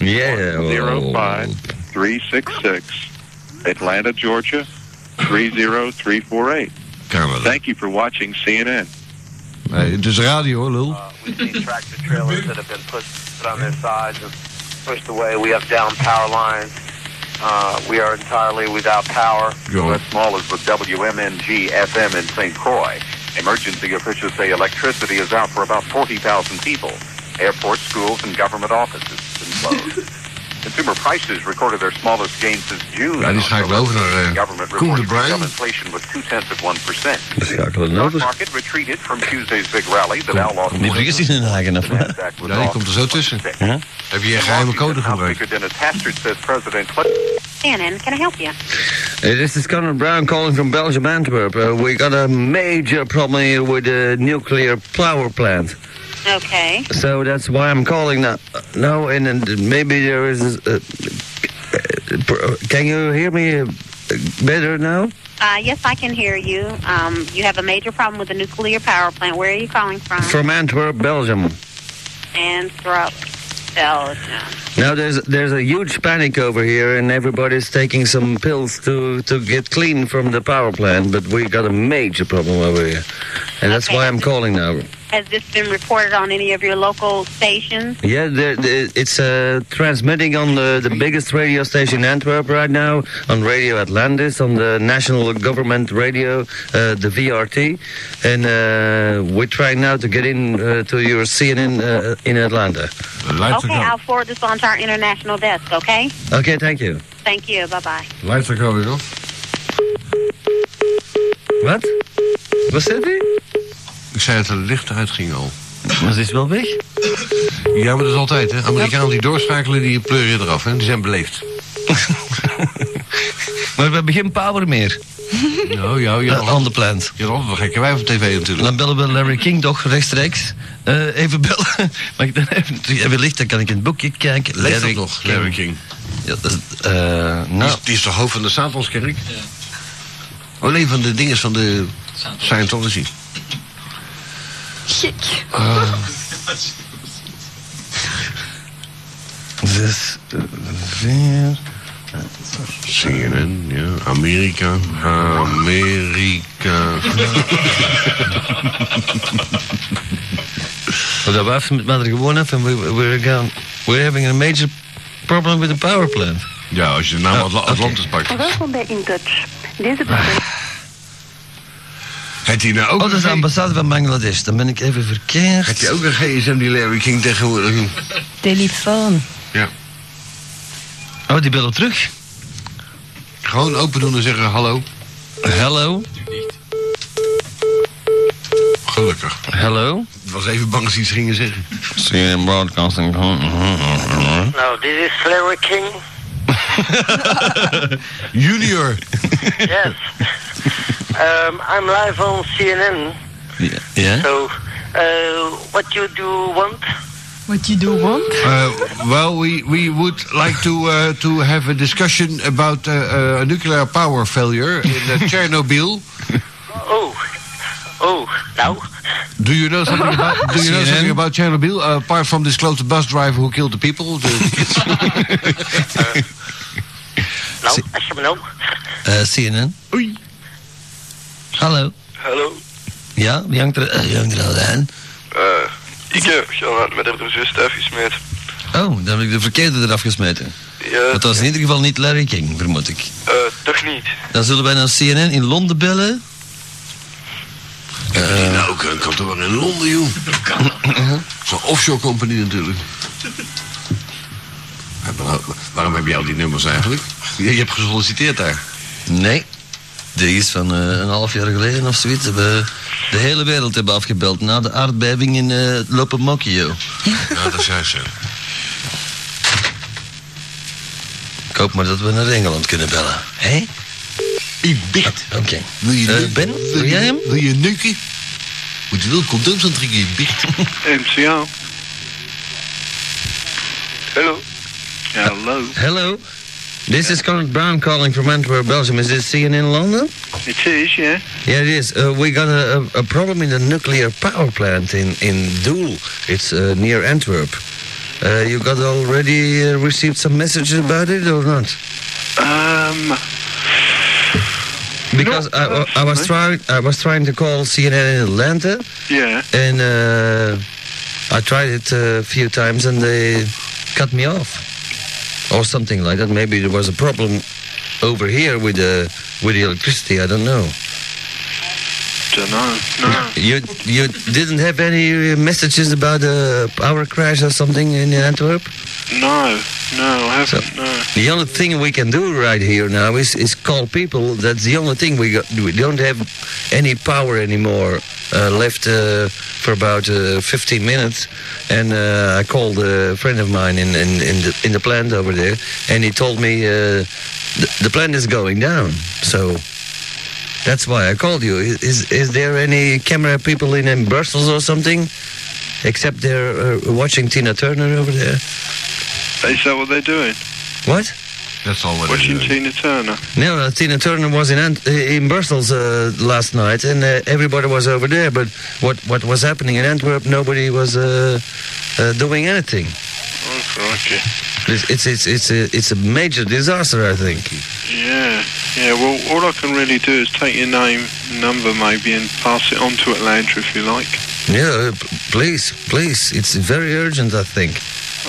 Yeah. oh, Zero well, five three six six, Atlanta, Georgia, 30348. Kan wel. Thank you for watching CNN. Nee, het is radio, lul. Uh, we see tractor trailers that have been pushed put on their sides and pushed away. We have down power lines. Uh, we are entirely without power. Go. West Mall is with WMNG FM in St. Croix. Emergency officials say electricity is out for about 40,000 people. Airports, schools, and government offices have been closed. Consumer prices recorded their smallest gain since June. Ja, die schakelen over naar, uh, eh, government Koen de reports Bruin. retail inflation was two tenths of one percent. Die schakelen Stock over. market retreated from Tuesday's big rally. The Dow lost. Die vliegers die zijn haken af. Nasdaq was Ja, die off komt er zo tussen. 1%. Heb je een geheime code gebruikt? Outkicker Dennis Hastert says President Clinton Shannon, can I help you? Hey, this is Conor Brown calling from Belgium, Antwerp. Uh, we got a major problem here with the nuclear power plant. Okay. So that's why I'm calling now. Now and, and maybe there is. Uh, uh, can you hear me uh, better now? Uh, yes, I can hear you. Um, you have a major problem with the nuclear power plant. Where are you calling from? From Antwerp, Belgium. Anthrop, Belgium. Now there's there's a huge panic over here, and everybody's taking some pills to to get clean from the power plant. But we got a major problem over here, and that's Okay. why I'm calling now. Has this been reported on any of your local stations? Yeah, the, the, it's uh, transmitting on the, the biggest radio station in Antwerp right now, on Radio Atlantis, on the national government radio, uh, the VRT. And uh, we're trying now to get in uh, to your CNN uh, in Atlanta. Luister okay, I'll gewoon. forward this on to our international desk, okay? Okay, thank you. Thank you. Bye bye. Luister gewoon weer op. Wat? Was dat die? Ik zei dat het licht uitging al. Maar ze is wel weg. Ja, maar dat is altijd, hè. Amerikanen die doorschakelen, die pleuren je eraf, hè. Die zijn beleefd. Maar we hebben geen power meer. Nou, ja, je Ja, had on the altijd- plant. je had altijd wel gekke wijf op tv natuurlijk. Dan bellen we Larry King toch rechtstreeks. Eh, even bellen. Mag ik dan even, even licht, dan kan ik in het boekje kijken. Leeft dat nog, Larry King? Ja, dat is- eh, Die nou, is, die is de hoofd van de Satanskerk. Alleen van de dinges van de Scientology. Chic. zes, eh, vier. CNN, ja. Amerika. Amerika. Maar dat was met mij er gewoon af en we, we're, gaan, we're having a major problem with the power plant. Ja, als je de naam Atla- Atlantis pakt. Welkom bij In Touch. Deze bedrijf Heeft hij nou ook, Oh, dat is de een, G- ambassade van Bangladesh. Dan ben ik even heeft verkeerd. hij ook een gsm die Larry King tegenwoordig? telefoon. Ja. Oh, die bellen terug. Gewoon open doen en zeggen hallo. Hello, Gelukkig. hello. Ik was even bang dat ze iets gingen zeggen. CNN Broadcasting. No, this is Larry King. Junior. Yes. um, I'm live on CNN. Ja? So, uh, what you do want? What you do want? Uh, well, we, we would like to uh, to have a discussion about uh, uh, a nuclear power failure in uh, Chernobyl. Oh, oh, now Do you know something about Do you know CNN? something about Chernobyl uh, apart from this close bus driver who killed the people? The, no, I should know. Eh, CNN. Oei. Hallo. Hallo, Ja, wie hangt er, eh, wie hangt er al aan? Eh ik heb Gerard met de zus afgesmeerd. Oh, dan heb ik de verkeerde eraf gesmeten. Ja, Dat was in ieder geval niet Larry King, vermoed ik. eh, toch niet. Dan zullen wij naar CNN in Londen bellen. nou, ook een kantoor in Londen, joh. Uh-huh. Zo'n offshore company natuurlijk. Maar waarom- nou- Waarom heb jij al die nummers eigenlijk? Je je hebt gesolliciteerd daar. Nee. Die is van eh, een half jaar geleden of zoiets. Hebben de hele wereld hebben afgebeld na de aardbeving in eh Lopemokio. Ja, Nou, dat is juist zo. Ik hoop maar dat we naar Engeland kunnen bellen. Hé? Ik dicht. Oké. Wil je Eh, nu- Ben, wil wil je- jij hem? Wil je neuken? Moet je wel condooms aantrekken, je bicht. MCO. Hallo, Hello. Hello. This is Conor Brown calling from Antwerp, Belgium. Is this CNN London? It is, yeah. Yeah, it is. Uh, we got a, a, a problem in the nuclear power plant in, in Doel. It's uh, near Antwerp. Uh, you got already uh, received some messages about it or not? Um, Because No, I, I, I was trying I was trying to call CNN in Atlanta yeah. and uh, I tried it a few times and they cut me off or something like that. Maybe there was a problem over here with the with the electricity. I don't know. Don't know. No. You you didn't have any uh, messages about a power crash or something in Antwerp? No. No, I haven't. No. The only thing we can do right here now is, is call people. That's the only thing we got. We don't have any power anymore uh, left uh, for about uh, 15 minutes. And uh, I called a friend of mine in, in, in, the, in the plant over there, and he told me uh, the, the plant is going down. So that's why I called you. I- Is, is there any camera people in, in Brussels or something? Except they're uh, watching Tina Turner over there. Is that what they're doing? What? That's all what it Watching is. Tina Turner. No, uh, Tina Turner was in Ant- uh, in Brussels uh, last night, and uh, everybody was over there. But what what was happening in Antwerp? Nobody was uh, uh, doing anything. Oh, crikey. It's it's it's it's a, it's a major disaster, I think. Yeah, yeah. Well, all I can really do is take your name, number maybe, and pass it on to Atlanta if you like. Yeah, uh, p- please, please, it's very urgent, I think.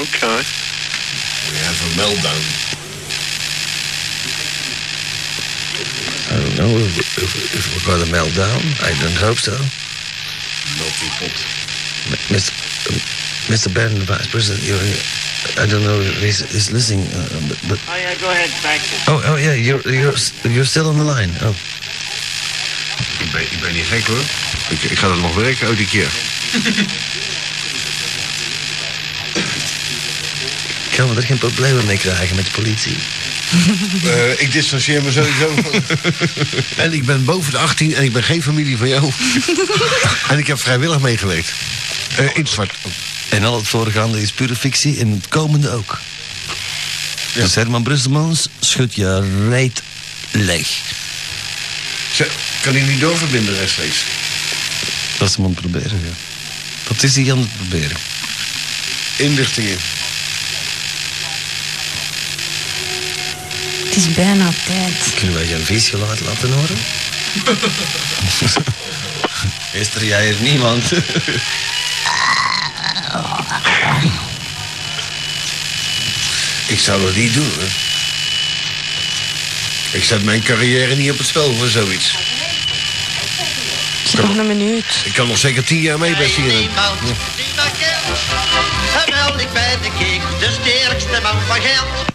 Okay. We have a meltdown. I don't know if, if, if we're going to melt down. I don't hope so. Multiple. M- Mr. um, Mr. Ben, the Vice President, you're, I don't know if he's, he's listening, uh, but, but Oh, yeah, go ahead. Thank you. oh oh yeah, you're you're s- you're still on the line. Oh. Ik ben, ik ben niet gek hoor. Ik, ik ga dat nog werken uit die keer. Gaan we er geen problemen mee krijgen met de politie? Eh, ik distancieer me sowieso van. En ik ben boven de 18 en ik ben geen familie van jou. en ik heb vrijwillig meegewerkt. Eh, in het zwart. En al het voorgaande is pure fictie en het komende ook. Dus Herman Brusselmans schudt je reet leeg. Ze- Kan hij niet doorverbinden rechtstreeks? Dat is hem aan het proberen, ja. Dat is hij aan het proberen. Inlichtingen. Het is bijna tijd. Kunnen wij geen vies geluid laten horen? Is er jij er niemand? Ik zou dat niet doen, hoor. Ik zet mijn carrière niet op het spel voor zoiets. Het is nog een minuut. Ik kan nog zeker tien jaar mee bij CNN. Niemand die dat kent. En wel, ik ben de kik, de sterkste man van geld.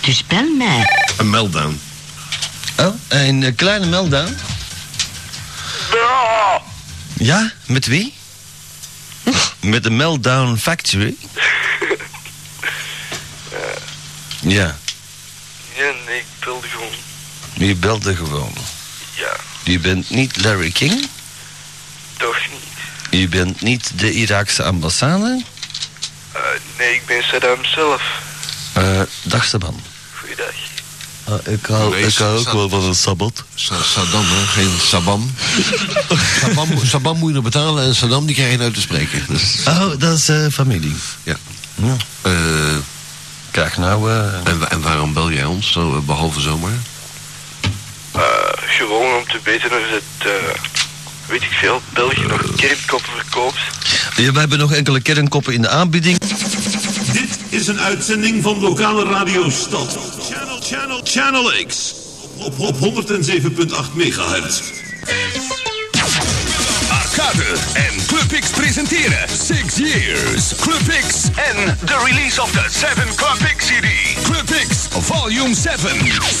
Dus bel mij. Een meltdown. Oh, een eh, kleine meltdown. Ja, met wie? met de Meltdown Factory. ja, Ja, nee, ik wilde gewoon. je belde gewoon. Ja, Je bent niet Larry King. toch niet. Je bent niet de Iraakse ambassade. Eh, nee, ik ben Saddam zelf. Eh dag Saban. Goeiedag. Ah, ik hou, Nee, ik hou ook Sa- wel van een sabbat. Sa- Saddam, hè? geen Sabam. Sabam. Sabam moet je nog betalen en Saddam die krijg je nou te spreken. Dus, Oh, dat is eh, familie. eh, Kijk nou, eh, en, wa- en waarom bel jij ons, zo, eh, behalve zomaar? Eh, gewoon om te weten of het, eh, weet ik veel, België nog kermkoppen verkoopt. we hebben nog enkele kernkoppen in de aanbieding. Dit is een uitzending van lokale radio Stad. Channel, channel, channel X. Op, op 107.8 megahertz. Arcade en Club X presenteren Six Years, Club X en de release of the 7 Club X CD. Club X Volume 7,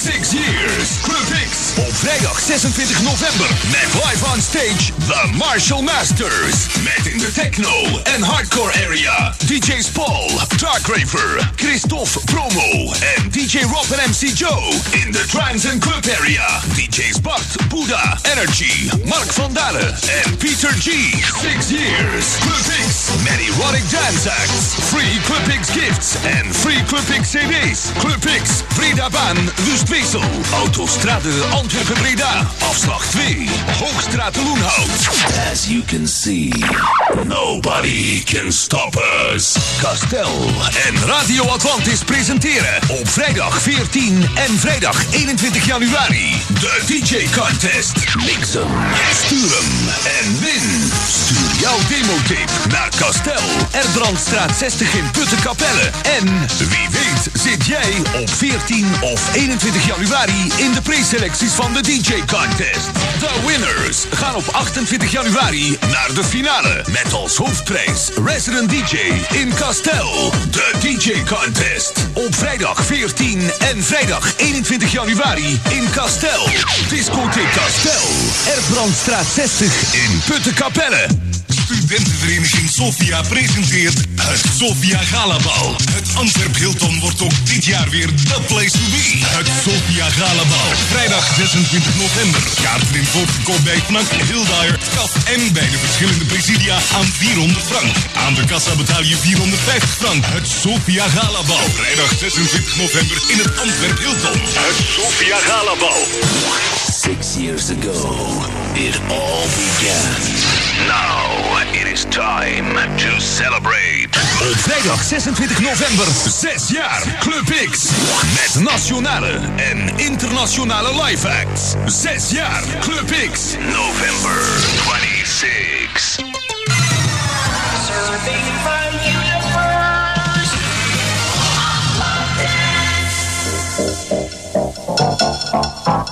Six Years, Club X. Op vrijdag 26 november met live on stage The Martial Masters. Met in de techno en hardcore area DJ's Paul, Dark Raver, Christophe Promo en DJ Rob en MC Joe. In de trance and club area DJ's Bart, Buddha, Energy, Mark van Dalen en Peter G. Six Years, Club X, met erotic dance acts, free Club X gifts en free Club X CD's. Club X, dus Breda Baan, Wustwissel, Autostrade Antwerpen Breda, afslag 2, Hoogstraat de Loenhout. As you can see, nobody can stop us. Castel en Radio Atlantis presenteren op vrijdag 14 en vrijdag 21 januari de DJ Contest. Mixen, sturen en win. Stuur jouw demotape naar Castel, Erbrandstraat 60 in Puttenkapelle. En wie weet zit jij op 14 of 21 januari in de preselecties van de DJ Contest. De winners gaan op 28 januari naar de finale. Met als hoofdprijs Resident DJ in Castel. De DJ Contest. Op vrijdag 14 en vrijdag 21 januari in Castel. Discotheek Castel. Erbrandstraat 60 in Puttenkapelle. Studentenvereniging Sofia presenteert het Sofia Galabal. Het Antwerp Hilton wordt ook dit jaar weer the place to be. Het Sofia Galabal. Vrijdag 26 november. Kaarten in voorverkoop bij Knak, Hildaer, Kaf en bij de verschillende presidia aan 400 frank. Aan de kassa betaal je 450 frank. Het Sofia Galabal. Vrijdag 26 november in het Antwerp Hilton. Het Sofia Galabal. Six years ago, it all began. Now it is time to celebrate. Op vrijdag 26 november, 6 jaar Club X. Met nationale en internationale live acts. 6 jaar Club X. November 26. Serving from universe. I love this.